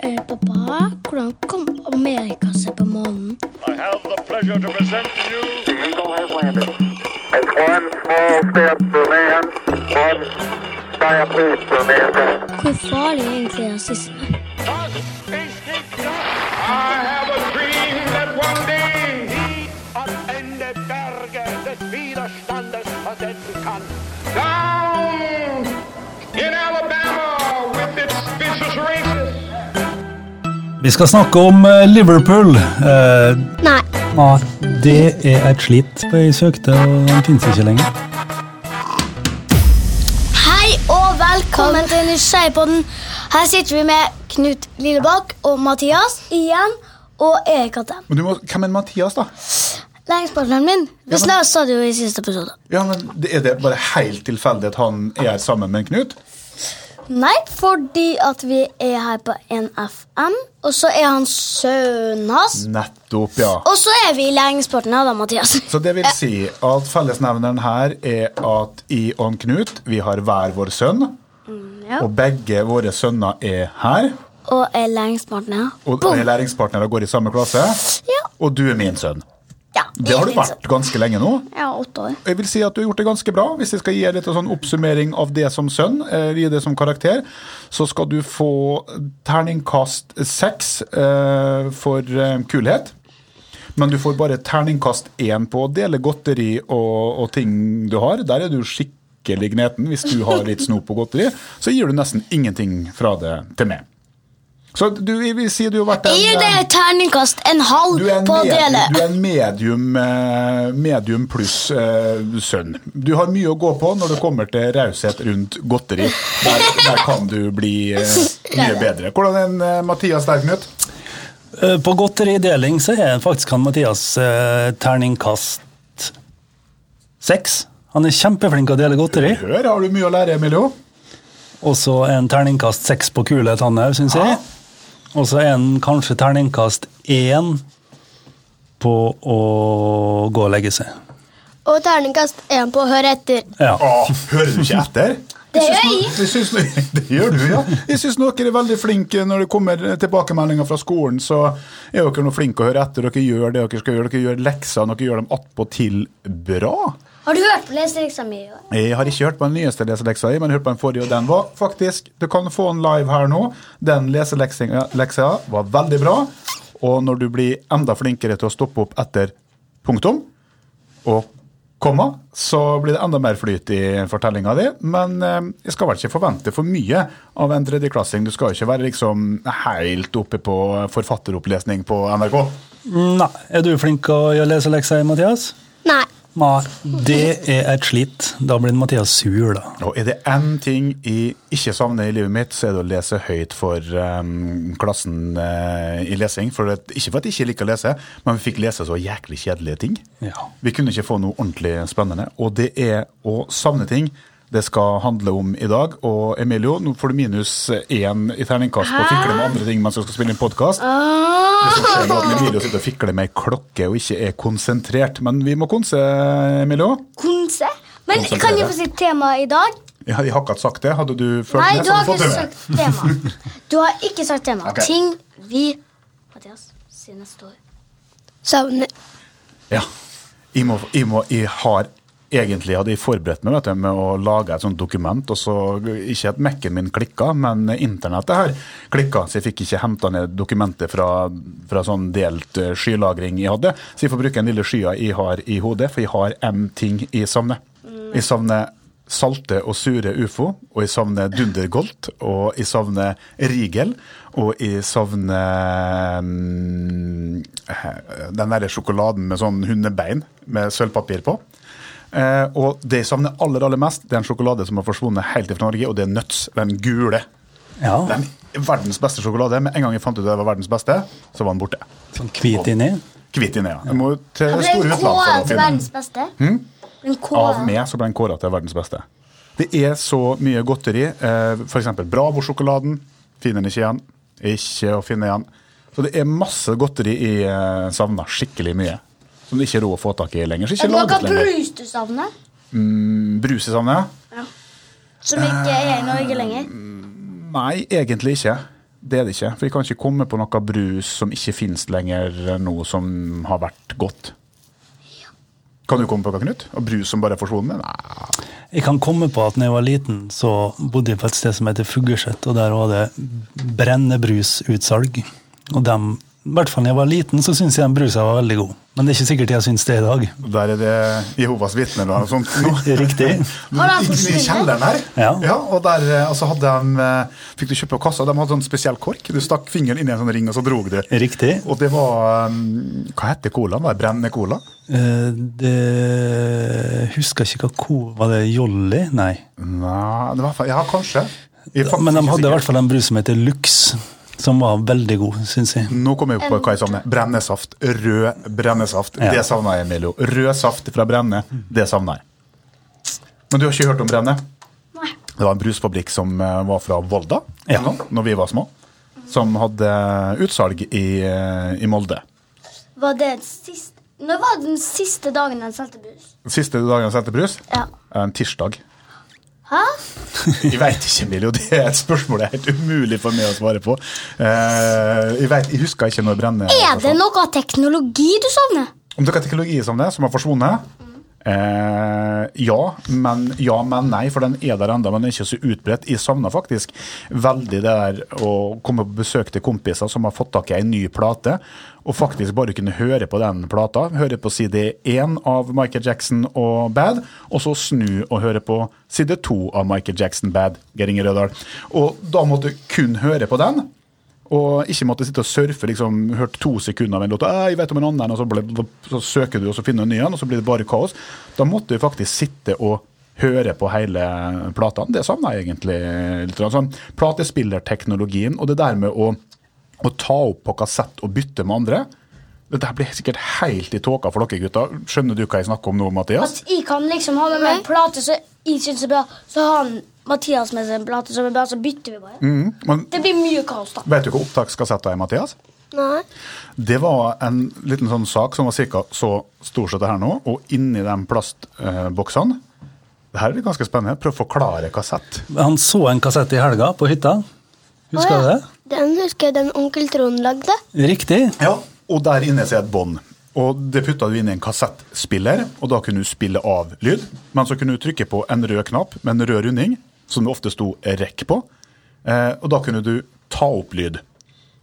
Eh, pappa, hvordan kom Amerika seg på månen? I have the pleasure to present to you The Eagle has landed. It's one small step for man, one giant leap for mankind. Hvor farlig er egentlig rasisme? I have a dream that one day nie am Ende Berge des Widerstandes versetzen kann. Down in Alabama with its vicious racists. Vi skal snakke om eh, Liverpool. Eh, Nei. ah, det er et slit. Jeg søkte, og den finnes ikke lenger. Hei og velkommen til Nysgjerrigpodden. Her sitter vi med Knut Lillebakk og Mathias igjen. Og Erik Atte. Men du må, hvem er Mathias, da? Læringspartneren min. Dessverre sa du jo i siste episode. Ja, men det- Er det bare helt tilfeldig at han er sammen med Knut? Nei, fordi at vi er her på NFM, og så er han sønnen hans. Nettopp, ja. Og så er vi læringspartnere, da, Mathias. Så det vil si at fellesnevneren her er at jeg og Knut vi har hver vår sønn. Mm, ja. Og begge våre sønner er her. Og er læringspartnere. Og Boom. er læringspartnere og går i samme klasse. Ja. Og du er min sønn. Ja, Det har du vært ganske lenge nå. Ja, åtte år. Jeg vil si at du har gjort det ganske bra. Hvis jeg skal gi deg litt sånn oppsummering av det som sønn, eller gi det som karakter, så skal du få terningkast seks eh, for eh, kulhet. Men du får bare terningkast én på å dele godteri og, og ting du har. Der er du skikkelig gneten. Hvis du har litt snop og godteri, så gir du nesten ingenting fra det til meg. Så du, jeg vil si du har vært en Gir eh, det terningkast en halv du er en, på å medium, dele? du er en medium, eh, medium pluss eh, sønn. Du har mye å gå på når det kommer til raushet rundt godteri. Der, der kan du bli eh, mye bedre. Hvordan er en, eh, Mathias der, Knut? Eh, På godterideling så er faktisk han Mathias eh, terningkast seks. Han er kjempeflink til å dele godteri. Hør, har du mye å lære, Emilio? Og så en terningkast seks på kulhet, han òg, syns jeg. Og så en kanskje terningkast én på å gå og legge seg. Og terningkast én på hør etter. Ja. Åh, hører du ikke etter? Det gjør Jeg syns, det gjør du, ja. Jeg syns dere er veldig flinke når det kommer tilbakemeldinger fra skolen. Så er dere noe flinke å høre etter. Dere gjør det dere skal gjøre. Dere gjør leksene. Dere gjør dem attpåtil bra. Har du hørt på leseleksa mi? Jeg har ikke hørt på den nyeste leseleksa, i, men jeg har hørt på den forrige, og den var faktisk Du kan få den live her nå. Den leseleksa var veldig bra. Og når du blir enda flinkere til å stoppe opp etter punktum og komma, så blir det enda mer flyt i fortellinga di. Men eh, jeg skal vel ikke forvente for mye av en tredjeklassing. Du skal jo ikke være liksom helt oppe på forfatteropplesning på NRK. Nei. Er du flink til å lese lekser, Mathias? Nei. Nei, det er et slit. Da blir Mathias sur, da. Og er det én ting jeg ikke savner i livet mitt, så er det å lese høyt for ehm, klassen eh, i lesing. For at, ikke for at jeg ikke liker å lese, men vi fikk lese så jæklig kjedelige ting. Ja. Vi kunne ikke få noe ordentlig spennende. Og det er å savne ting det skal handle om i dag. Og Emilio, nå får du minus én i terningkast på å fikle med andre ting mens du skal spille inn podkast. Emilio sitter og fikler med ei klokke og ikke er konsentrert. Men vi må konse, Emilio. Konse? Men Konsentrere. kan jeg få si tema i dag? Jeg har jeg har ikke sagt det. Hadde du følt Nei, det, du så har fått ikke det med. sagt tema. Du har ikke sagt tema. Ok. Ting vi Mathias, si neste år. Savner. Ja. Jeg, må, jeg, må, jeg har egentlig hadde jeg forberedt meg vet du, med å lage et sånt dokument, og så ikke at Mac-en min klikka, men internettet her klikka, så jeg fikk ikke henta ned dokumentet fra, fra sånn delt eh, skylagring jeg hadde. Så jeg får bruke den lille skya jeg har i hodet, for jeg har én ting jeg savner. Jeg savner salte og sure ufo, og jeg savner dundergolt, og jeg savner rigel, og jeg savner mm, den derre sjokoladen med sånn hundebein med sølvpapir på. Eh, og det jeg savner aller, aller mest, det er en sjokolade som har forsvunnet helt fra Norge, og det er Nuts, den gule. ja. Den verdens beste sjokolade. Med en gang jeg fant ut det var verdens beste, så var den borte. Sånn hvit inni. Kvitt inn i den. Jeg må til Han ble det store utland for kåret å til finne den. verdens beste. Hmm? Av meg så ble den kåra til verdens beste. Det er så mye godteri. eh, For eksempel Bravo-sjokoladen. Finner den ikke igjen. Ikke å finne igjen. Så det er masse godteri jeg eh, savner skikkelig mye. Som det ikke er råd å få tak i lenger. Så ikke Noe laget lenger. brus du savner, Brus i savnet? som ikke er i Norge lenger. Nei, egentlig ikke. Det er det ikke. For jeg kan ikke komme på noe brus som ikke finnes lenger nå, som har vært godt. Kan du komme på noe, Knut? Og brus som bare er forsvunnet? Nei. Jeg kan komme på at når jeg var liten, så bodde jeg på et sted som heter Fuggeset, og der var det brennebrusutsalg. Og dem, i hvert fall da jeg var liten, så syntes jeg den brusa var veldig god. Men det er ikke sikkert jeg syns det i dag. Der er det Jehovas vitner eller noe sånt. nå. Riktig. Har det Inne i forsvunnet? kjelleren her. Ja. og der eh, altså, hadde de, eh, fikk du kjøpe på kassa. De hadde sånn spesiell kork. Du stakk fingeren inn i en sånn ring, og så drog du. Riktig. Og det var eh, Hva heter colaen? Var det brennende cola? Eh, det husker ikke hva ko... Var det Jolly? Nei. Nei, det var, fa- ja, kanskje. Jeg er faktisk Men de ikke hadde i sikker. hvert fall en brus som heter Lux, som var veldig god, syns jeg. Nå kommer jeg på hva jeg savner. Brennesaft. Rød brennesaft. Ja. Det savner jeg, Emilio. Rød saft fra brenne, det savner jeg. Men du har ikke hørt om brenne? Det var en brusfabrikk som eh, var fra Volda, Ja. nå, når vi var små, som hadde utsalg i, eh, i Molde. Var det sist... Når var den siste dagen han solgte brus? Siste dagen jeg sendte brus, Ja. er en tirsdag. Hæ? Jeg veit ikke, Emilio. Det er et spørsmål det er helt umulig for meg å svare på. Eh, jeg, vet, jeg husker ikke når brenne Er det noe teknologi du savner? Om dere har teknologi som det, som har forsvunnet? Eh, ja, men ja, men nei, for den er der ennå, men den er ikke så utbredt. Jeg savner faktisk veldig det der å komme på besøk til kompiser som har fått tak i ei ny plate, og faktisk bare kunne høre på den plata. Høre på side én av Michael Jackson og Bad, og så snu og høre på side to av Michael Jackson Bad, Geir Inge Rødahl. Og da måtte du kun høre på den. Og ikke måtte sitte og surfe, liksom, hørt to sekunder av en låt, «Æ, jeg vet om en annen, og så, ble, så søker du, og så finner du en ny en, og så blir det bare kaos. Da måtte du faktisk sitte og høre på hele plata. Det savna jeg egentlig litt. grann, Sånn, platespillerteknologien og det der med å, å ta opp på kassett og bytte med andre. Dette her blir sikkert helt i tåka for dere gutter. Skjønner du hva jeg snakker om nå, Mathias? At jeg kan liksom ha med meg en plate som jeg syns er bra, så har han Mathias med seg en plate som er bra, så bytter vi bare. Men Det blir mye kaos, da. vet du hva opptakskassetter er, Mathias? Nei. Det var en liten sånn sak som var cirka så stor som det her nå, og inni de plastboksene Det her er ganske spennende. Prøv å forklare kassett. Han så en kassett i helga på hytta. Husker Å, du ja. det? Den husker jeg den onkel Trond lagde. Riktig. Ja. Og der inne så er et bånd. Og det putta du inn i en kassettspiller, og da kunne du spille av lyd. Men så kunne du trykke på en rød knapp med en rød runding, som det ofte sto rekk på. Eh, og da kunne du ta opp lyd.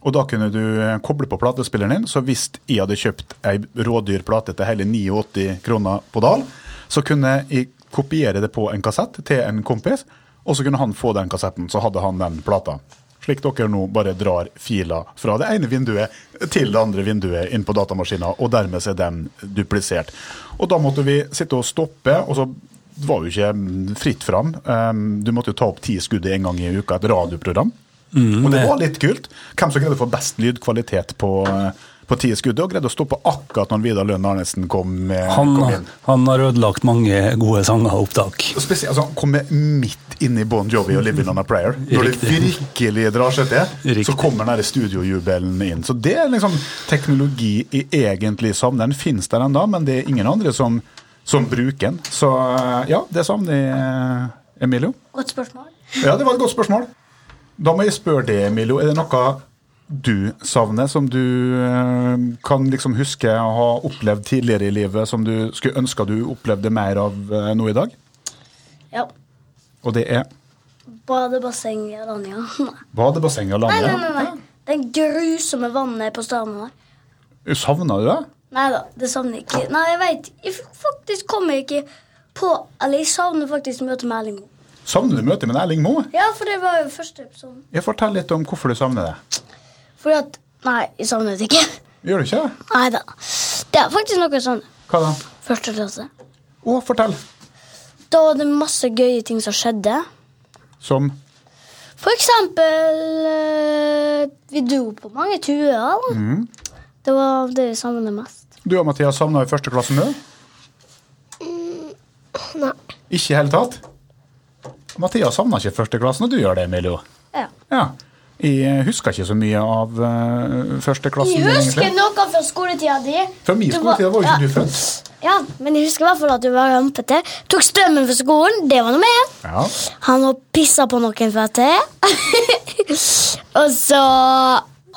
Og da kunne du eh, koble på platespilleren din, så hvis jeg hadde kjøpt ei rådyr plate til hele 89 kroner på Dal, så kunne jeg kopiere det på en kassett til en kompis, og så kunne han få den kassetten, så hadde han den plata. Slik dere nå bare drar filer fra det ene vinduet til det andre vinduet inn på datamaskinen, og dermed så er den duplisert. Og da måtte vi sitte og stoppe, og så var det jo ikke mm, fritt fram. Um, Du måtte jo ta opp ti skudd en gang i uka, et radioprogram. og det var litt kult. Hvem som greide å få best lydkvalitet på, eh, på ti skudd, og greide å stoppe akkurat når Vidar Lønn Arnesen kom, eh, kom inn. Han, han har ødelagt mange gode sanger og opptak. Spesielt, altså, han kommer midt inn i Bon Jovi og Living on a Prayer. Når det Riktig. virkelig drar seg til, Riktig. så kommer den der studiojubelen inn. Så det er liksom teknologi i egentlig savner. Den fins der ennå, men det er ingen andre som, som bruker den. Så eh, ja, det savner jeg, Emilio. Godt spørsmål. Ja, det var et godt spørsmål. Da må jeg spørre deg, Emilio. Er det noe du savner, som du eh, kan liksom huske å ha opplevd tidligere i livet, som du skulle ønske du opplevde mer av eh, nå i dag? Ja. Og det er Badebasseng i Alanya. Badebassenget og landet? Nei, nei, nei. Den grusomme vannet på stranda der. nei. Savna du det? Nei da, det savner jeg ikke. Nei, jeg vet, jeg f- faktisk kommer jeg ikke på Eller jeg savner faktisk møtet med Erling Moe. Savner du møtet med Erling Moe? Ja, for det var jo første episoden. Jeg Fortell litt om hvorfor du savner det. Fordi at Nei, jeg savner det ikke. Gjør du ikke det? Nei da. Det er faktisk noe jeg savner. Hva da? Første klasse. Å, fortell. Da var det masse gøye ting som skjedde. Som For eksempel eh, Vi dro på mange turer. da. Mm. Det var det vi savner mest. du og Mathias savna i første klasse nå? Mm, Nei. Ikke i hele tatt? Mathias savna ikke første klassen, og du gjør det, Emilio. Ja. Ja. Jeg husker ikke så mye av eh, første klassen. Jeg min, husker egentlig. noe fra skoletida di. Fra min Du skoletid var jo ikke ja, du født. Ja, men jeg husker i hvert fall at du var rampete. Tok strømmen fra skolen. Det var noe med. Ja. Han har pissa på noen før til. Og så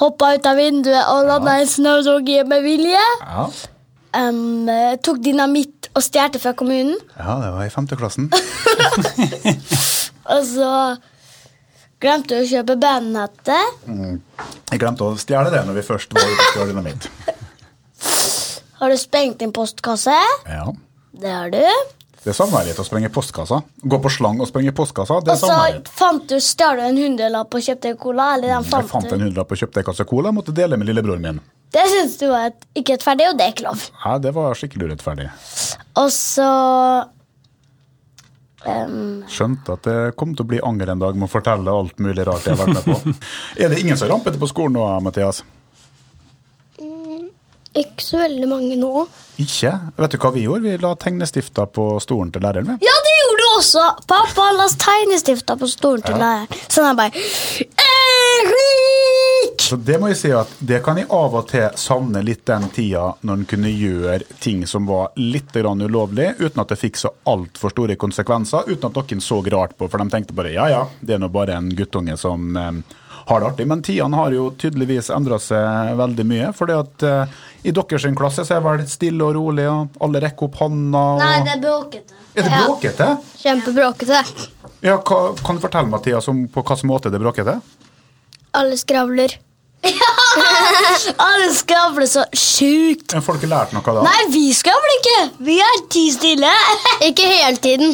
hoppa ut av vinduet og landa i en snødogge med vilje. Ja. Em, eh, tok dynamitt og stjal fra kommunen. ja, det var i femteklassen. Og så glemte jeg å kjøpe bandnette. Jeg glemte å stjele det når vi først var ute og stjal dynamitt. Har du sprengt din postkasse? Ja. Det har du. Det savner jeg litt, å sprenge postkassa. Gå på slang og sprenge postkassa, det Og så savner jeg litt. fant du, stjal du en hundrelapp og kjøpte cola. Eller den Jeg fant fant en du. hundrelapp og kjøpte en kasse cola jeg måtte dele med lillebroren min. Det syns du var et, ikke rettferdig, og det er ikke lov. Ja, det var skikkelig urettferdig. Og så em, Skjønte at det kom til å bli anger en dag med å fortelle alt mulig rart jeg har vært med på. er det ingen som rampete på skolen nå, Mathias? Ikke så veldig mange nå. Ikke. Vet du hva vi gjorde? Vi la tegnestifter på stolen til læreren. vi. Ja, det gjorde du også! Pappa la tegnestifter på stolen til læreren. Sånn han bare Erik! Så det må jeg si at det kan jeg av og til savne litt den tida når en kunne gjøre ting som var litt grann ulovlig, uten at det fikk så altfor store konsekvenser, uten at noen så rart på, for de tenkte bare ja ja, det er nå bare en guttunge som eh, har det artig. Men tidene har jo tydeligvis endra seg veldig mye, fordi at eh, i deres klasse så er det vel stille og rolig, og alle rekker opp hånda. Og... Nei, det er bråkete. er det bråkete? Kjempebråkete. Ja, hva, kan du fortelle, Mathias, om på hvilken måte det er bråkete? Alle skravler. Alle skravler så sjukt. Men Folk har lært noe da? Nei, vi skravler ikke! Vi er ti stille. Ikke hele tiden.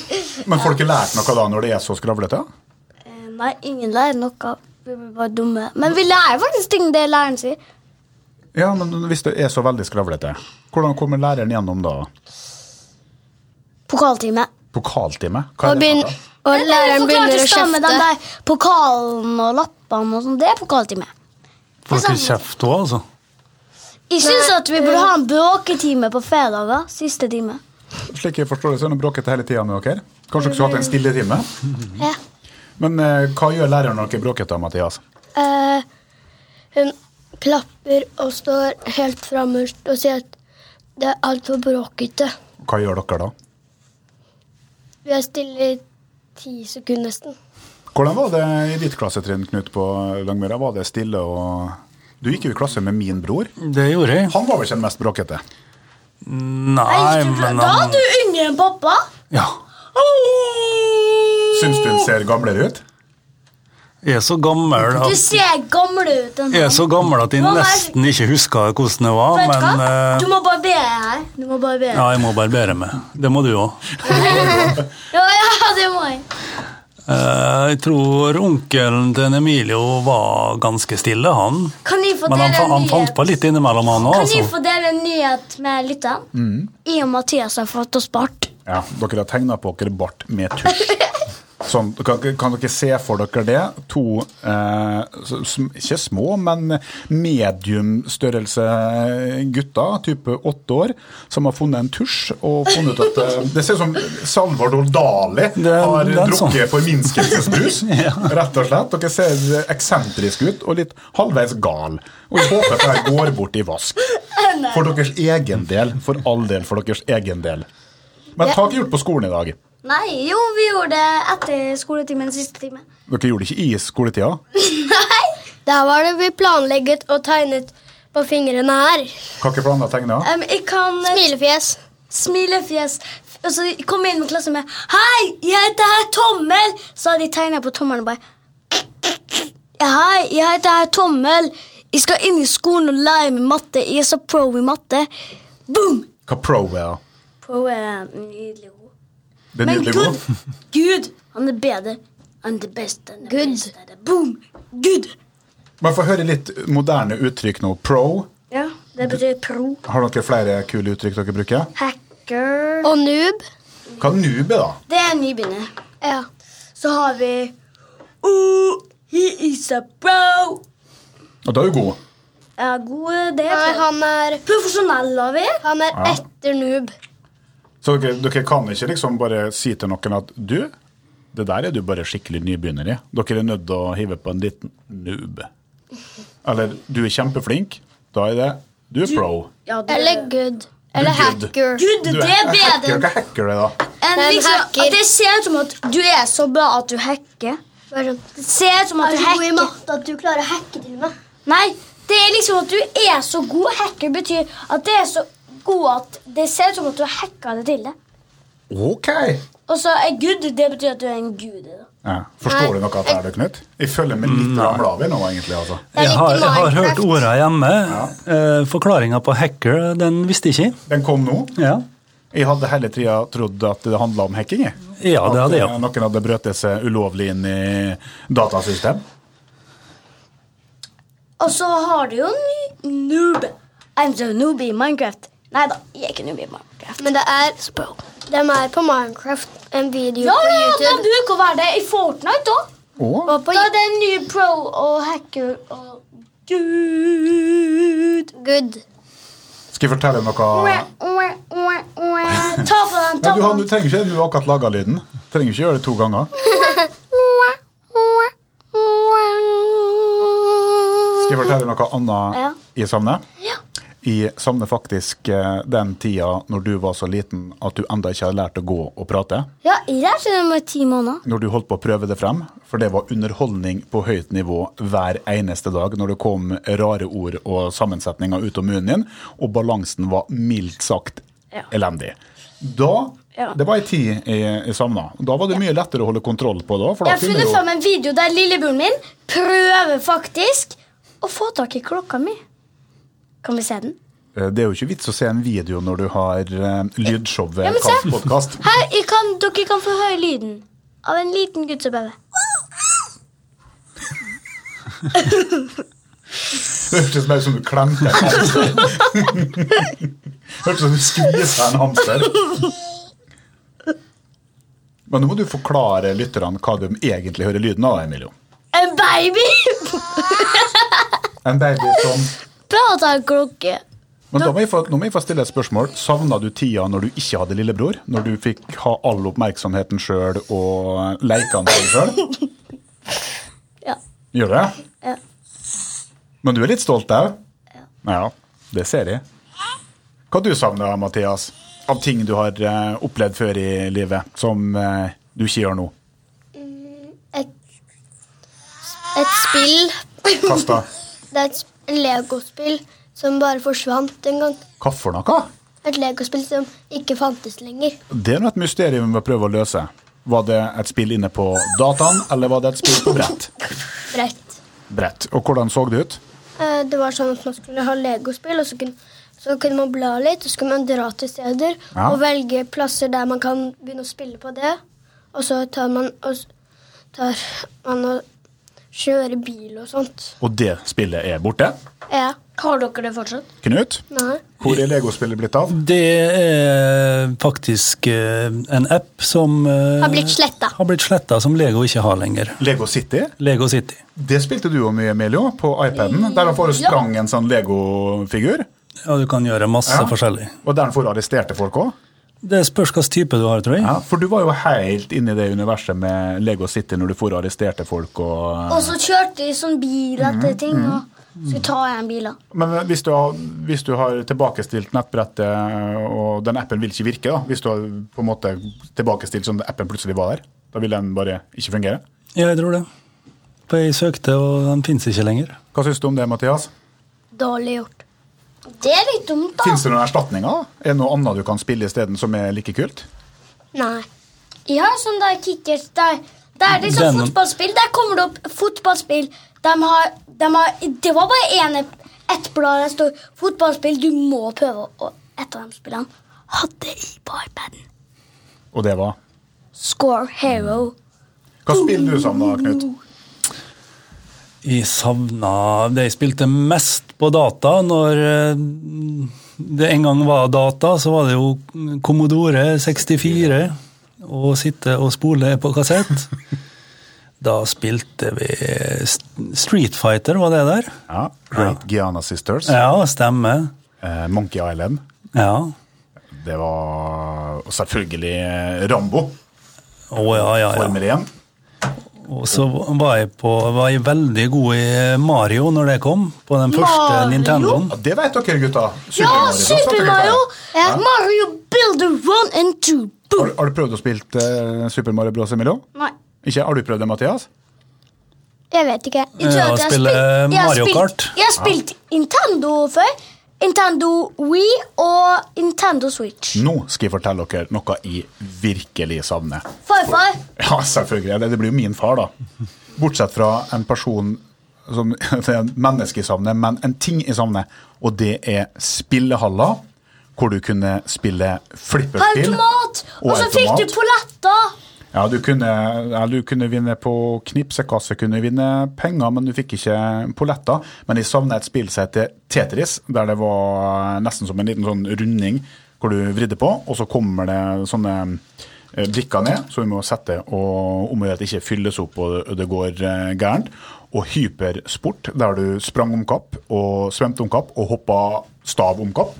Men folk har lært noe da når det er så skravlete? Eh, Nei, ingen lærer noe. Vi blir bare dumme. Men vi lærer faktisk ting det læreren sier. Ja, men hvis det er så veldig skravlete, hvordan kommer læreren gjennom da? Pokaltime. Pokaltime? Hva Og, er liksom det begyn- for noe? og læreren begynner å Med den kjefte. der pokalen og lappene og sånn. Det er pokaltime. Får dere kjeft òg, altså? Jeg syns at vi burde ha en bråketime på fredager. Siste time. Slik jeg forstår det, så er det bråkete hele tida med dere. Kanskje dere skulle hatt en stille time? Ja. Men eh, hva gjør læreren når dere er bråkete, Mathias? Eh, hun klapper og står helt frammest og sier at det er altfor bråkete. Hva gjør dere da? Vi er stille i ti sekunder nesten. Hvordan var det i ditt klassetrinn, Knut, på Langmyra? Var det stille og Du gikk jo i klasse med min bror. Det gjorde jeg. Han var vel ikke den mest bråkete? Nei, men um, Da han er du yngre enn pappa. Ja. Syns du hun ser gamlere ut? Jeg er så Du gammel at ser gammel ut. enn jeg er så gammel at jeg Hva var- nesten ikke husker hvordan det var, Vet du men hva? Du eh, må barbere her. Du må barbere. ja, jeg må barbere meg. Det må du òg. Ja, ja, det må jeg. Eh, Jeg tror onkelen til en Emilio var ganske stille, han. Kan jeg få Men dele han, fa- en han fant nyhet? på litt innimellom, han òg. Kan jeg Altså. Mm. få dele en nyhet med lytteren? I og Mathias har fått oss bart. Ja, dere har tegna på dere bart med tusj. Sånn, kan, kan dere se for dere det? To eh, s- sm- ikke små, men mediumstørrelse gutter, type åtte år, som har funnet en tusj og funnet ut at eh, Det ser ut som Salvador Dali er- har det er en sånn. drukket forminskelsesbrus, rett og slett. Dere ser eksentriske ut og litt halvveis gal. Og jeg håper at dette går bort i vask. For deres egen del. For all del, for deres egen del. Men hva har dere gjort på skolen i dag? Nei, jo, vi gjorde det etter skoletimen siste time. Dere gjorde det ikke i skoletida? Der var det vi planlegget og tegnet på fingrene her. Hva dere planla å tegne? Em, jeg kan eh, Smilefjes. smilefjes. Og så kom jeg inn med klassen med 'Hei, jeg heter her Tommel'. Så hadde de tegna på tommelen og bare «Ja, 'Hei, jeg heter her Tommel. Jeg skal inn i skolen og lære meg matte. Jeg er så pro i matte.' Boom! Hva pro er? Pro er nydelig ord. Det er Men nydelig Gud, god. Gud, han er bedre. Han er det beste. Han er Gud. Beste. Boom! Gud. Men få høre litt moderne uttrykk nå. Pro. Ja, det betyr pro. Har dere flere kule uttrykk dere bruker? Hacker. Og noob. Hva noob er, da? Det er nybegynner. Ja. Så har vi Oh, he is a pro. Og da er du god. Ja, god det. Nei, han er, Profesjonell har vi. han er Ja. etter noob. Så dere, dere kan ikke liksom bare si til noen at du, det der er du bare skikkelig nybegynner i. Dere er nødt til å hive på en liten noob. Eller du er kjempeflink. Da er det du er pro. Ja, det- Eller good. Eller good. hacker. Gud, Du det er bedre hacker. Hva hacker det, da? enn Det er en liksom, hacker. Det ser ut som at du er så bra at du hacker. Bare sånn, Det ser ut som at Er du du så god i hacker. matte at du klarer å hacke til og med? Nei, det er liksom at du er så god hacker, betyr at det er så god at det ser ut som at du har hacka det til det. Ok! Og så er gud, det betyr at du er en gud. Da. Ja. Forstår du noe av det her, du, Knut? Jeg følger med Mm, litt av bladet nå, egentlig. altså. Det er Jeg litt har, i jeg har hørt Minecraft. orda hjemme. Eh, Forklaringa på hacker, den visste ikke jeg. Den kom nå. Ja. Jeg hadde hele tida trodd at det handla om hacking. jeg. Ja, det hadde jeg At òg. eh, noen hadde brøt seg ulovlig inn i datasystem. Og så har du jo en ny noob. I'm the noob i Minecraft. Nei da, jeg er ikke noob i Minecraft. Men det er De er på Minecraft, en video Ja, på ja, det YouTube. bruker å være det i Fortnite òg. Å, Og på Da er det en ny pro og hacker og gud. Good. skal jeg fortelle noe? Ta på den, Ja, ta du, på har- du den. trenger ikke du har akkurat laga lyden. Trenger ikke gjøre det to ganger. Skal jeg fortelle noe annet Ja. i Samne? Jeg savner faktisk eh, den tida når du var så liten at du enda ikke hadde lært å gå og prate. Ja, jeg er til nummer ti måneder. Når du holdt på å prøve det frem, for det var underholdning på høyt nivå hver eneste dag når det kom rare ord og sammensetninger ut av munnen din, og balansen var mildt sagt elendig. Da, Ja. Det var ei tid jeg, jeg savna. Da var det mye lettere å holde kontroll på da. For da Jeg har kunne funnet jo- fram en video der lillebroren min prøver faktisk å få tak i klokka mi. Kan vi se den? Eh, Det er jo ikke vits å se en video når du har eh, lydshow ved Ja, men se. Kast podkast. Her, jeg kan, dere kan få høre lyden av en liten gutt som prøver. Hørtes mer ut som du klemte en hamster. Hørtes ut som du skviste en hamster. Men nå må du forklare lytterne hva de egentlig hører lyden av, Emilio. En baby En baby som prater en klokke. Men da må jeg få, nå må jeg få stille et spørsmål. Savna du tida når du ikke hadde lillebror? Når du fikk ha all oppmerksomheten sjøl og leika med deg sjøl? Ja. Gjør du det? Ja. Men du er litt stolt òg? Ja. Det ser jeg. Hva du savner, Mathias, av ting du har eh, opplevd før i livet, som eh, du ikke gjør nå? Et, et spill. Kasta Det er et sp- legospill som bare forsvant en gang. hva for noe? Et legospill som ikke fantes lenger. Det er nå et mysterium vi må prøve å løse. Var det et spill inne på dataen, eller var det et spill på brett? Brett. Brett. Og hvordan så det ut? Eh, Det var sånn at man skulle ha legospill, og så kunne, så kunne man bla litt, og så kunne man dra til steder Ja. og velge plasser der man kan begynne å spille på det. Og så tar man og, s- tar man og kjører bil og sånt. Og det spillet er borte. Ja. Har dere det fortsatt? Knut, Nei. hvor er legospillet blitt av? Det er faktisk eh, en app som eh, Har blitt slettet. Har blitt sletta, som Lego ikke har lenger. Lego City? Lego City. Det spilte du jo mye, Emilio, på iPaden. Der han får sprang en sånn legofigur. Ja, du kan gjøre masse Ja. forskjellig. Og der han får arresterte folk òg. Det spørs hvilken type du har, tror jeg. Ja, for du var jo helt inne i det universet med Lego City når du for arresterte folk og Og så kjørte de sånn bil etter ting. Og skulle ta igjen biler. Men hvis du, har, hvis du har tilbakestilt nettbrettet, og den appen vil ikke virke, da, hvis du har på en måte tilbakestilt sånn at appen plutselig var der, da vil den bare ikke fungere? Jeg tror det. For jeg søkte, og den fins ikke lenger. Hva syns du om det, Mathias? Dårlig gjort. Det er litt dumt, da. Fins det noen erstatninger? da? Er det noe annet du kan spille isteden som er like kult? Nei. Jeg har sånn der kickers der. Det er liksom Den- fotballspill. Der kommer det opp fotballspill. De har, de har, det var bare en, ett blad der står 'fotballspill'. Du må prøve å Et av de spillene hadde jeg på iPaden. Og det var Score Hero. Hva spiller du som da, Knut? Jeg savna det jeg spilte mest på data. Når eh, det en gang var data, så var det jo Commodore 64. Å sitte og spole på kassett. Da spilte vi St- Street Fighter, var det der? Ja, Great Giana Sisters. Ja, stemmer. Eh, Monkey Island. Ja. Det var og selvfølgelig eh, Rambo. Å ja, ja, ja. Formel 1. Og så var jeg, på, var jeg veldig god i Mario når det kom, på den første Mario? Nintendoen. Ja, det vet dere, gutta. Super Ja, Mario, Sånn da snakker Super dere Mario! om det. Mario Builder 1 and 2. Har, har du prøvd å spille eh, Super Mario Bros. Emilio? Nei. Ikke? Har du prøvd det, Mathias? Jeg vet ikke. Jeg tror at Ja, jeg har spille eh, spilt- jeg har Mario spilt- Kart. Jeg har spilt Nintendo før. Nintendo Wii og Nintendo Switch. Mm. Nå skal jeg fortelle dere noe jeg virkelig savner. Farfar. Ja, selvfølgelig. Det- Det blir jo min far, da. Bortsett fra en person som det er en menneske jeg savner, men en ting jeg savner, og det er spillehaller. Hvor du kunne spille flipperspill. Automat. Og så fikk du automat. på latta. Ja, du kunne, ja, du kunne vinne på knipsekasse, kunne vinne penger, men du fikk ikke polletter. Men jeg savner et spill som heter Tetris, der det var nesten som en liten sånn runding hvor du vridde på, og så kommer det sånne eh, brikker ned, så vi må sette og om å gjøre at det ikke fylles opp og det går eh, gærent. Og hypersport, der du sprang om kapp og svømte om kapp og hoppa stav om kapp.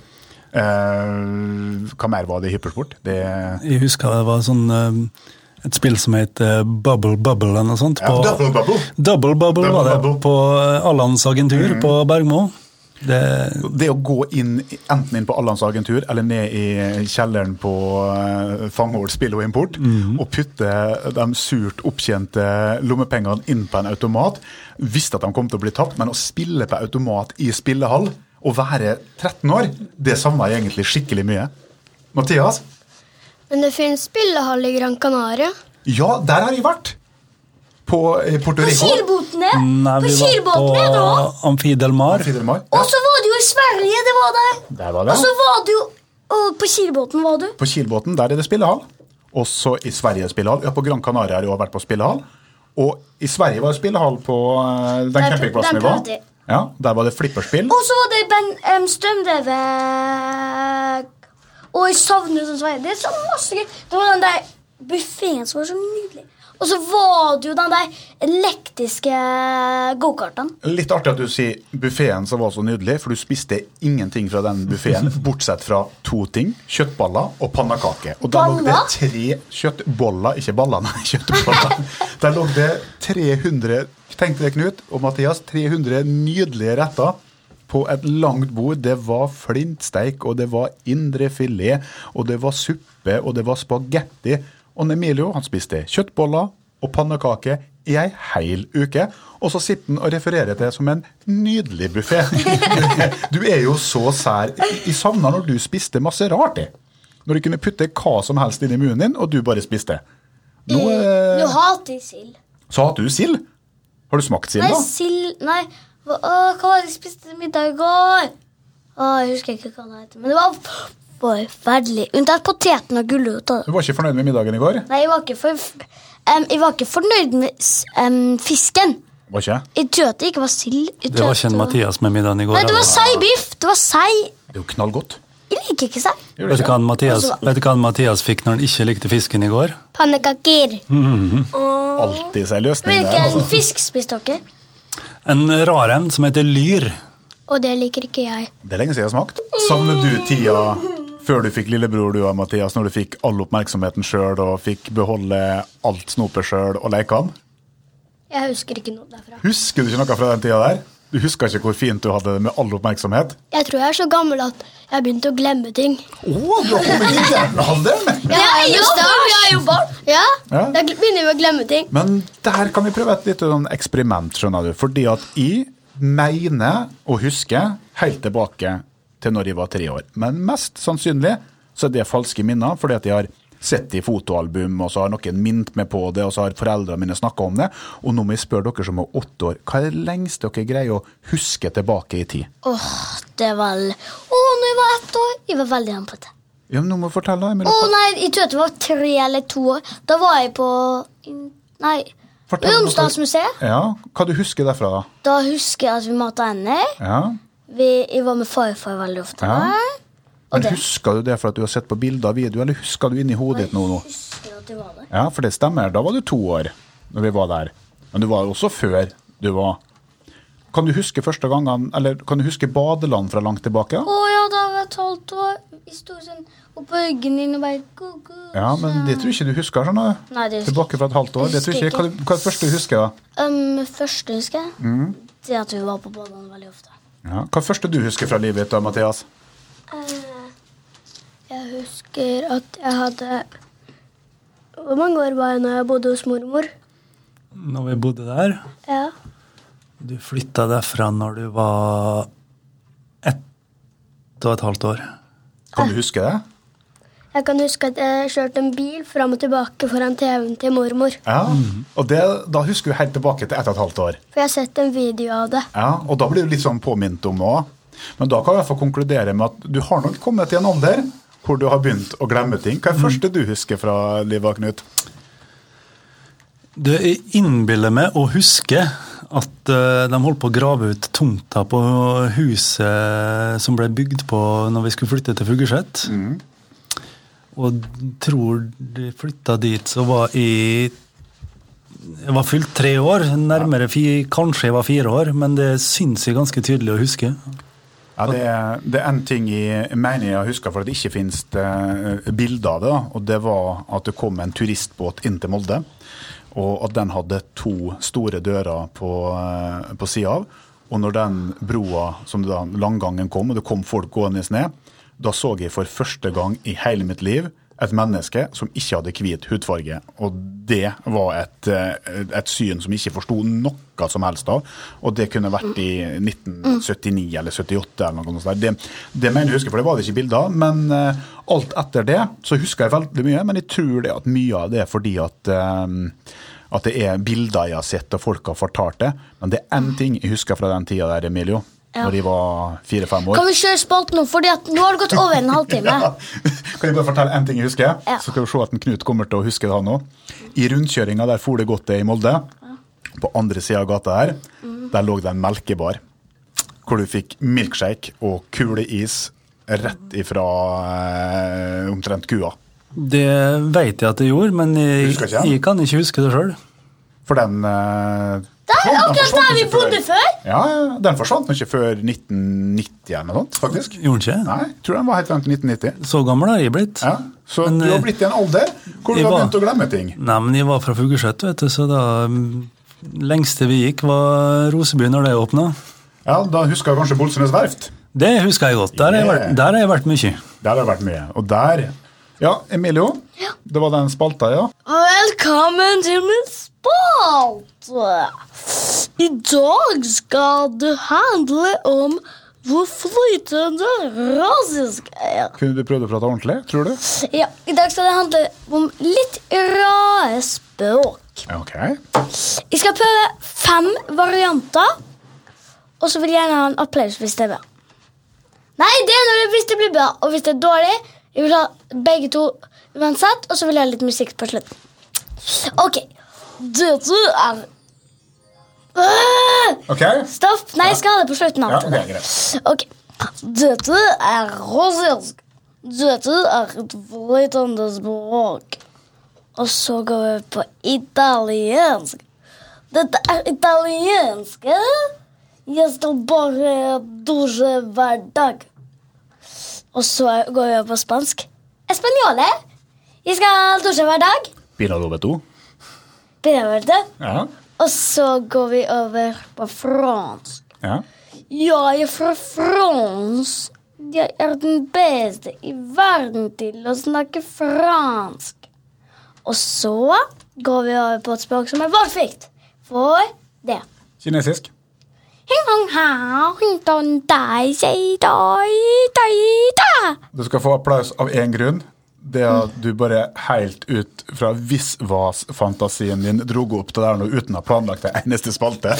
Eh, hva mer var det i hypersport? Det Jeg husker det var sånn eh, et spill som het eh, Bubble Bubble eller noe sånt. Ja, Double Bubble. Double Bubble Double var det Bubble. på eh, Allans agentur på Bergmo. Det, Det å gå inn, enten inn på Allands agentur eller ned i kjelleren på eh, Fanghold spill og import, og putte de surt opptjente lommepengene inn på en automat, visste at de kom til å bli tapt, men å spille på automat i spillehall og være 13 år, det savner jeg egentlig skikkelig mye. Mathias? Men det finnes spillehall i Gran Canaria. Ja, der har jeg vært! På eh, Puerto På Rico. kilbåtene. nei, På vi kilbåtene var da. på Amfidelmar. Fire mai. Og så var du jo i Sverige, det var der. Der var det. Og så var du jo og på kilbåten, var du. På Kilbåten, der er det spillehall. Også i Sverige er det spillehall. Ja, på Gran Canaria har jeg også vært på spillehall. Og i Sverige var det spillehall på eh, den Der- der campingplassen vi var. prøvde jeg. Ja, der var det flipperspill. Og så var det Ben um, Strømdrevet Og jeg savner sånn Sverige. Det er så masse gøy. Det var den der buffeen som var så nydelig. Og så var det jo den der elektriske gokarten. Litt artig at du sier buffeen som var så nydelig, for du spiste ingenting fra den buffeen, bortsett fra to ting. Kjøttballer og pannekaker. Og der lå det Baller? tre kjøttboller, ikke baller, nei, kjøttboller. Der lå det 300, tenk deg Knut og Mathias, 300 nydelige retter på et langt bord. Det var flintsteik, og det var indrefilet, og det var suppe, og det var spagetti. Og Emilio, han spiste kjøttboller og pannekaker i ei hel uke. Og så sitter han og refererer til det som en nydelig buffé. Du er jo så sær. Jeg savna når du spiste masse rart. jeg. Når du kunne putte hva som helst inn i munnen din, og du bare spiste. Nå, Nå eh, hater jeg sild. så hater du sild. Har du smakt sild, Nei, da? sild Nei, hva, åh, hva var det jeg spiste til middag i går? Åh, jeg husker ikke hva det heter, men det var forferdelig. Unntatt poteten og gulrota. Du var ikke fornøyd med middagen i går? Nei, jeg var ikke, for, em, jeg var ikke fornøyd med s- em, fisken. Var ikke? Jeg tror at det ikke var sild. Jeg Det tror var at ikke en Mathias med middagen i går. Nei, det var eller? seibiff. Det var sei. Det er jo knallgodt. Jeg liker ikke sei. Gjør Vet du det hva ikke? han Mathias, Altså- vet du hva han Mathias fikk når han ikke likte fisken i går? Pannekaker. Alltid seg løsning der. Hvilken Altså. fisk spiste dere? En rar en som heter lyr. Og det liker ikke jeg. Det er lenge siden jeg har smakt. Savner du tida før du fikk lillebror, du og Mathias, når du fikk all oppmerksomheten sjøl og fikk beholde alt snopet sjøl og lekene? Jeg husker ikke noe derfra. Husker du ikke noe fra den tida der? Du husker ikke hvor fint du hadde det med all oppmerksomhet? Jeg tror jeg er så gammel at jeg har begynt å glemme ting. Å, du har kommet i den alderen! Jeg har jo barn! Jeg er jo barn. Ja, Ja. Da gl- begynner vi å glemme ting. Men der kan vi prøve et lite sånn eksperiment, skjønner du. Fordi at jeg mener og husker helt tilbake til når jeg var tre år. Men mest sannsynlig så er det falske minner, fordi at jeg har sett det i fotoalbum, og så har noen mint meg på det, og så har foreldrene mine snakka om det. Og nå må jeg spørre dere som er åtte år, hva er det lengste dere greier å huske tilbake i tid? Åh, det var Å, når jeg var ett år, jeg var veldig rampete. Ja, men nå må jeg fortelle. Emil. Å nei, jeg tror at det var tre eller to år. Da var jeg på Nei, Fortell noe. Romsdalsmuseet. Ja, hva du husker derfra, da? Da husker jeg at vi mata ender. Ja. Vi, jeg var med farfar veldig ofte. Ja. Men det- husker du det for at du har sett på bilder og video, eller husker du inni hodet ditt nå? nå? Husker at jeg var der. Ja, for det stemmer. Da var du to år når vi var der. Men du var jo også før du var Kan du huske første gangen, eller kan du huske badeland fra langt tilbake? da? Å ja, da var jeg et halvt år. Jeg sto sånn oppå ryggen din og bare go, go, Ja, men det tror jeg ikke du husker. skjønner du. Nei, det husker Tilbake fra et halvt år. Jeg Det tror jeg ikke. husker Hva, hva er det første du husker? da? Um, første husker jeg, Mm. det at vi var på badeland veldig ofte. Ja. Hva er det første du husker fra livet ditt, da, Mathias? Jeg husker at jeg hadde Hvor mange år var jeg når jeg bodde hos mormor? når vi bodde der. Ja. Du flytta derfra når du var ett og et halvt år. Kan du huske det? Jeg kan huske at jeg kjørte en bil fram og tilbake foran TV-en til mormor. Ja. Og det, da husker du helt tilbake til ett og et halvt år. For jeg har sett en video av det. Ja, og da blir du litt sånn påminnet om det òg. Men da kan jeg få konkludere med at du har nok kommet til en alder hvor du har begynt å glemme ting. Hva er det første du husker fra livet, Knut? Det innbiller meg å huske at eh, de holdt på å grave ut tomta på huset som ble bygd på når vi skulle flytte til Fugerset. Mm. Og tror de flytta dit så var i Jeg var fylt tre år, nærmere fi, kanskje jeg var fire år, men det syns jeg ganske tydelig å huske. Ja, det, er- det er en ting jeg mener jeg har huska for at det ikke finnes eh, bilder av det. da, Og det var at det kom en turistbåt inn til Molde. Og at den hadde to store dører på, eh, på sida av. Og når den broa, som da langgangen kom, og det kom folk gående ned, da så jeg for første gang i hele mitt liv et menneske som ikke hadde hvit hudfarge. Og det var et, eh, et syn som jeg ikke forsto noe som helst av. Og det kunne vært i 1979 eller 78 eller noe sånt. der. Det, det mener jeg husker, for det var det ikke bilder av. Men eh, alt etter det så husker jeg veldig mye. Men jeg tror det at mye av det er fordi at eh, at det er bilder jeg har sett og folk har fortalt det. Men det er én ting jeg husker fra den tida der, Emilio. Ja. Når de var fire-fem år. Kan vi kjøre spalten nå, Fordi at nå har det gått over en halvtime. Ja. Kan jeg bare fortelle én ting jeg husker? Ja. Så skal vi se at en Knut kommer til å huske det, han òg. I rundkjøringa der for det godt det i Molde, på andre sida av gata her, Mm. der lå det en melkebar. Hvor du fikk milkshake og kuleis rett ifra eh, omtrent kua. Det veit jeg at jeg gjorde, men jeg, Husker ikke? jeg kan ikke huske det sjøl. For den eh, Der, den akkurat forsvant der vi ikke bodde før! Ja, ja, den forsvant nå ikke før 1990 eller noe sånt, faktisk. Gjorde den ikke? Nei, jeg tror den var helt frem til 1990. Så gammel har jeg blitt. Ja, så Men, du har eh, blitt i en alder hvor du jeg har var- begynt å glemme ting. Nei, men jeg var fra Fugerset, vet du, så da mm, Lengste vi gikk, var Roseby når det åpna. Ja, Da husker jeg kanskje Bolsønes verft. Det husker jeg godt. Der har jeg vært, Yeah. der har jeg vært mye. Der har det vært mye. Og der Ja, Emilio. Det var den spalta, ja. Velkommen til min spalte. I dag skal det handle om hvor flytende russisk er. Kunne du prøvd å prate ordentlig? Tror du? Ja, I dag skal det handle om litt rare språk. Ja, Ok. Jeg skal prøve fem varianter, og så vil jeg gjerne ha en applaus hvis det er bra. Nei, det er når det, hvis det blir bra, og hvis det er dårlig. Jeg vil ha begge to uansett, og så vil jeg ha litt musikk på slutten. Ok. Dette er Øh! Ok? Stopp. Nei, jeg skal ha det på slutten. Ja, av ok, greit. Ok. Dette er russisk. Dette er et flytende språk. Og så går vi på italiensk. Dette er italiensk. eh? Jeg skal bare dusje hver dag. Og så går vi over på spansk. Espanjole. Jeg skal dusje hver dag. Bina Lobeto. Prøver det. Ja. Og så går vi over på fransk. ja. Jeg er fra Frans. Jeg er den beste i verden til å snakke fransk. Og så går vi over på et språk som er valgfritt. For det. Kinesisk. Hing hong hao, hing dong dai, sei dai, dai, da. Du skal få applaus av én grunn. Det at du bare helt ut fra visvas-fantasien din dro opp det der nå uten å ha planlagt det eneste spalte.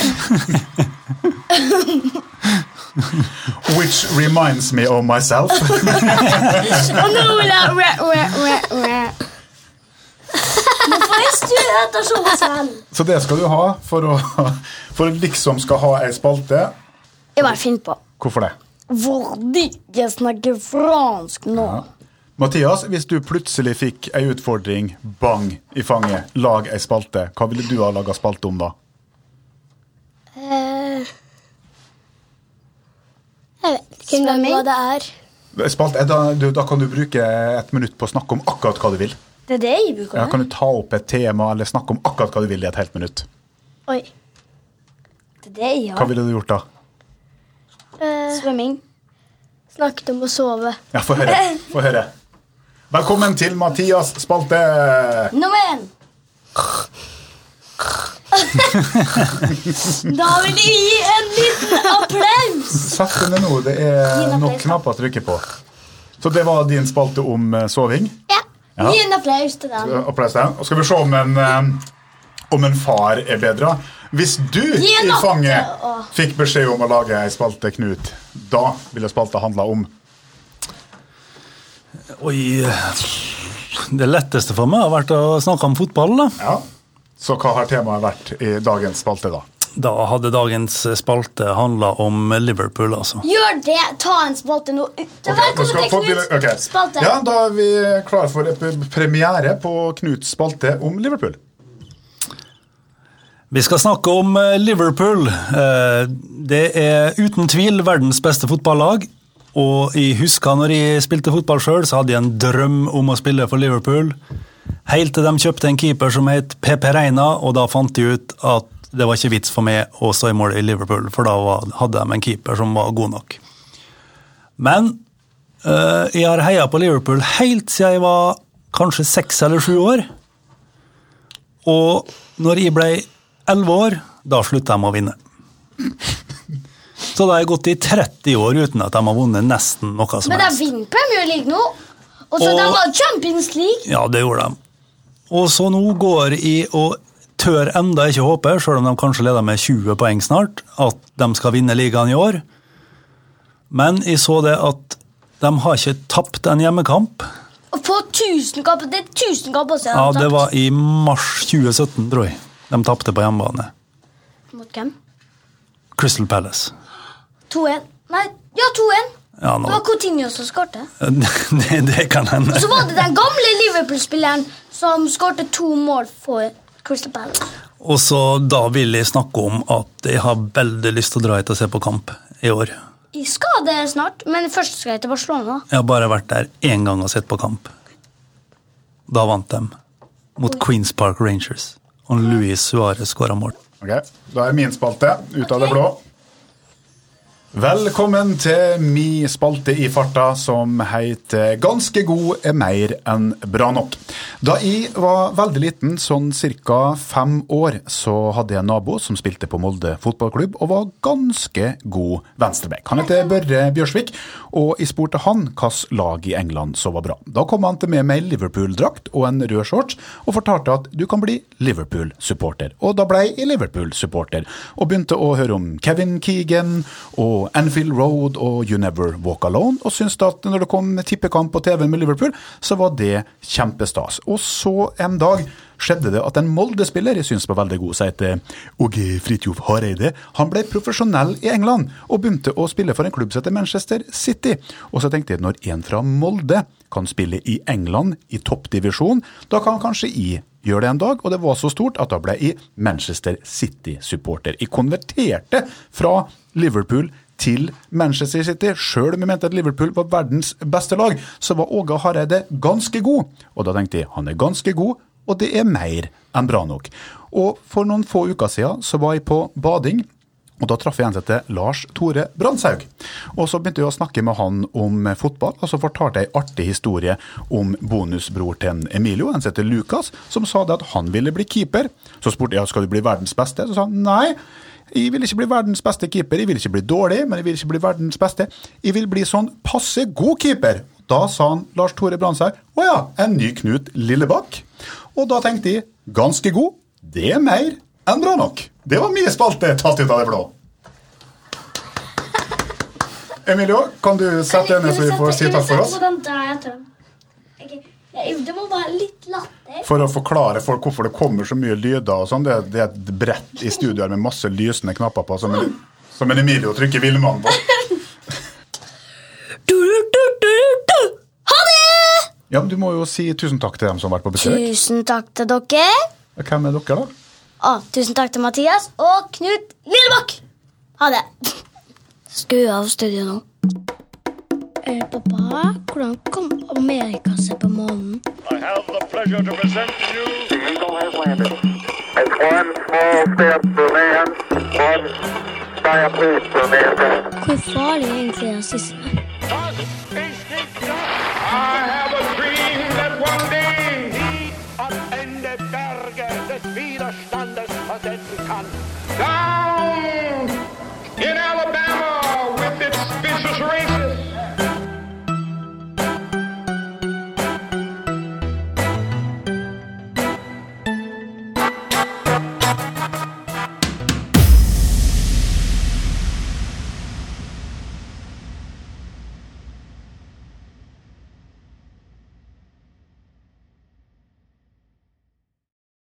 Which reminds me of myself. Og nå vil jeg re, re, re, re. Hvorfor er stueheter så selv? Så det skal du ha for å, for å liksom skal ha ei spalte. Jeg bare finner på. Hvorfor det? Fordi jeg snakker fransk nå. Mathias, hvis du plutselig fikk ei utfordring, bang, i fanget, lag ei spalte, hva ville du ha laga spalte om da? Eh, jeg vet ikke engang hva det er. Spalte, eh, da, du, da kan du bruke et minutt på å snakke om akkurat hva du vil. Det er det jeg bruker. Ja, kan du ta opp et tema eller snakke om akkurat hva du vil i et helt minutt? Oi. Det er det jeg Hva har. ville du gjort da? Eh, Svømming. snakket om å sove. Ja, Få høre. Få høre. Velkommen til Mathias spalte! Nummer én. Da vil jeg gi en liten applaus! Sett den ned nå. Det er Gi en nok applaus, da. knapper å trykke på. Så det var din spalte om eh, soving. Ja. Ja. Gi en applaus til den. Applaus til den. Og skal vi se om en, eh, om en far er bedre. Hvis du Gi en i fanget latte, å. fikk beskjed om å lage ei spalte, Knut, da ville spalta handla om Oi, det letteste for meg har vært å snakke om fotball, da. Ja. Så hva har temaet vært i dagens spalte, da? Da hadde dagens spalte handla om Liverpool, altså. Gjør det! Ta en spalte nå. Ok, nå Velkommen skal til folk Knut. begynne- ok. Spalte. Ja, Da er vi klar for et p- premiere på Knuts spalte om Liverpool. Vi skal snakke om eh, Liverpool. Eh, Det er uten tvil verdens beste fotballag. Og jeg husker når jeg spilte fotball sjøl, så hadde jeg en drøm om å spille for Liverpool. Helt til de kjøpte en keeper som het PP Reina, og da fant de ut at det var ikke vits for meg å stå i mål i Liverpool, for da var- hadde de en keeper som var god nok. Men eh, jeg har heia på Liverpool helt siden jeg var kanskje seks eller sju år. Og når jeg ble elleve år, da slutta de å vinne. Så da har jeg gått i 30 år uten at de har vunnet nesten noe som Men det er helst. vinner Premier League nå. Og så Og- det var Champions League. Ja, det gjorde de. Og så nå går jeg og tør enda ikke håpe, selv om de kanskje leder med 20 poeng snart, at de skal vinne ligaen i år. Men jeg så det at de har ikke tapt en hjemmekamp. Og få 1000 kamper. Det er 1000 kamper siden. Ja, de det tapte. var i mars 2017, tror jeg. De tapte på hjemmebane. Mot hvem? Crystal Palace. 2-1. Nei, ja, 2-1. Ja, Det nå, var Coutinho som skårte. det, det kan hende. Og så var det den gamle Liverpool-spilleren som skårte to mål for Crystal Palace. Og så da vil jeg snakke om at jeg har veldig lyst til å dra hit og se på kamp i år. Jeg skal det snart, men først skal jeg til Barcelona. Jeg har bare vært der én gang og sett på kamp. Da vant de. Mot Queens Park Rangers. Og Luis Suárez skåra mål. Ok, Da er min spalte ut av det blå. Velkommen til mi spalte i farta som heter Ganske god er mer enn bra nok. Da jeg var veldig liten, sånn ca. fem år, så hadde jeg en nabo som spilte på Molde fotballklubb og var ganske god venstreback. Han heter Børre Bjørsvik, og jeg spurte han hvilket lag i England som var bra. Da kom han til meg med ei Liverpool-drakt og en rød shorts, og fortalte at du kan bli Liverpool-supporter. Og da blei jeg Liverpool-supporter, og begynte å høre om Kevin Keegan og Anfield Road og You Never Walk Alone, og syntes at når det kom tippekamp på TV med Liverpool, så var det kjempestas. Og så en dag skjedde det at en Molde-spiller jeg syns var veldig god, som heter Åge Fridtjof Hareide, han ble profesjonell i England og begynte å spille for en klubb som heter Manchester City. Og så tenkte jeg at når en fra Molde kan spille i England i toppdivisjon, da kan kanskje i gjøre det en dag, og det var så stort at da ble jeg Manchester City-supporter. Jeg konverterte fra Liverpool til Manchester City. Sjøl om jeg mente at Liverpool var verdens beste lag, så var Åge Hareide ganske god. Og da tenkte jeg han er ganske god, og det er mer enn bra nok. Og for noen få uker siden så var jeg på bading. Og Da traff jeg en som heter Lars Tore Brandshaug. Og Så begynte jeg å snakke med han om fotball, og så fortalte jeg en artig historie om bonusbror til en Emilio, en som heter Lukas, som sa det at han ville bli keeper. Så spurte jeg skal du bli verdens beste. Så sa han nei, jeg vil ikke bli verdens beste keeper, jeg vil ikke bli dårlig, men jeg vil ikke bli verdens beste. Jeg vil bli sånn passe god keeper. Da sa han Lars Tore Brandshaug å ja, en ny Knut Lillebakk. Og da tenkte jeg ganske god, det er mer enn bra nok. Det var mye spalte tatt ut av det blå. Emilio, kan du sette deg ned så vi får si takk for oss? Det må være litt latter. For å forklare folk hvorfor det kommer så mye lyder og sånn, det, det er et brett i studio her med masse lysende knapper på, som en, som en Emilio trykker villmann på. Ha det! Ja, men Du må jo si tusen takk til dem som har vært på besøk. Tusen takk til dere. Hvem er dere, da? Og tusen takk til Mathias og Knut Lillebakk. Ha det. Skru av studio nå. Eh, pappa, hvordan kom Amerika seg på månen? I have the pleasure to present to you. The Eagle has landed. It's one small step for man, one giant leap for mankind. Hvor farlig er egentlig den siste? Thus is this I have a dream that one day die unendliche Berge des Widerstandes versetzen Down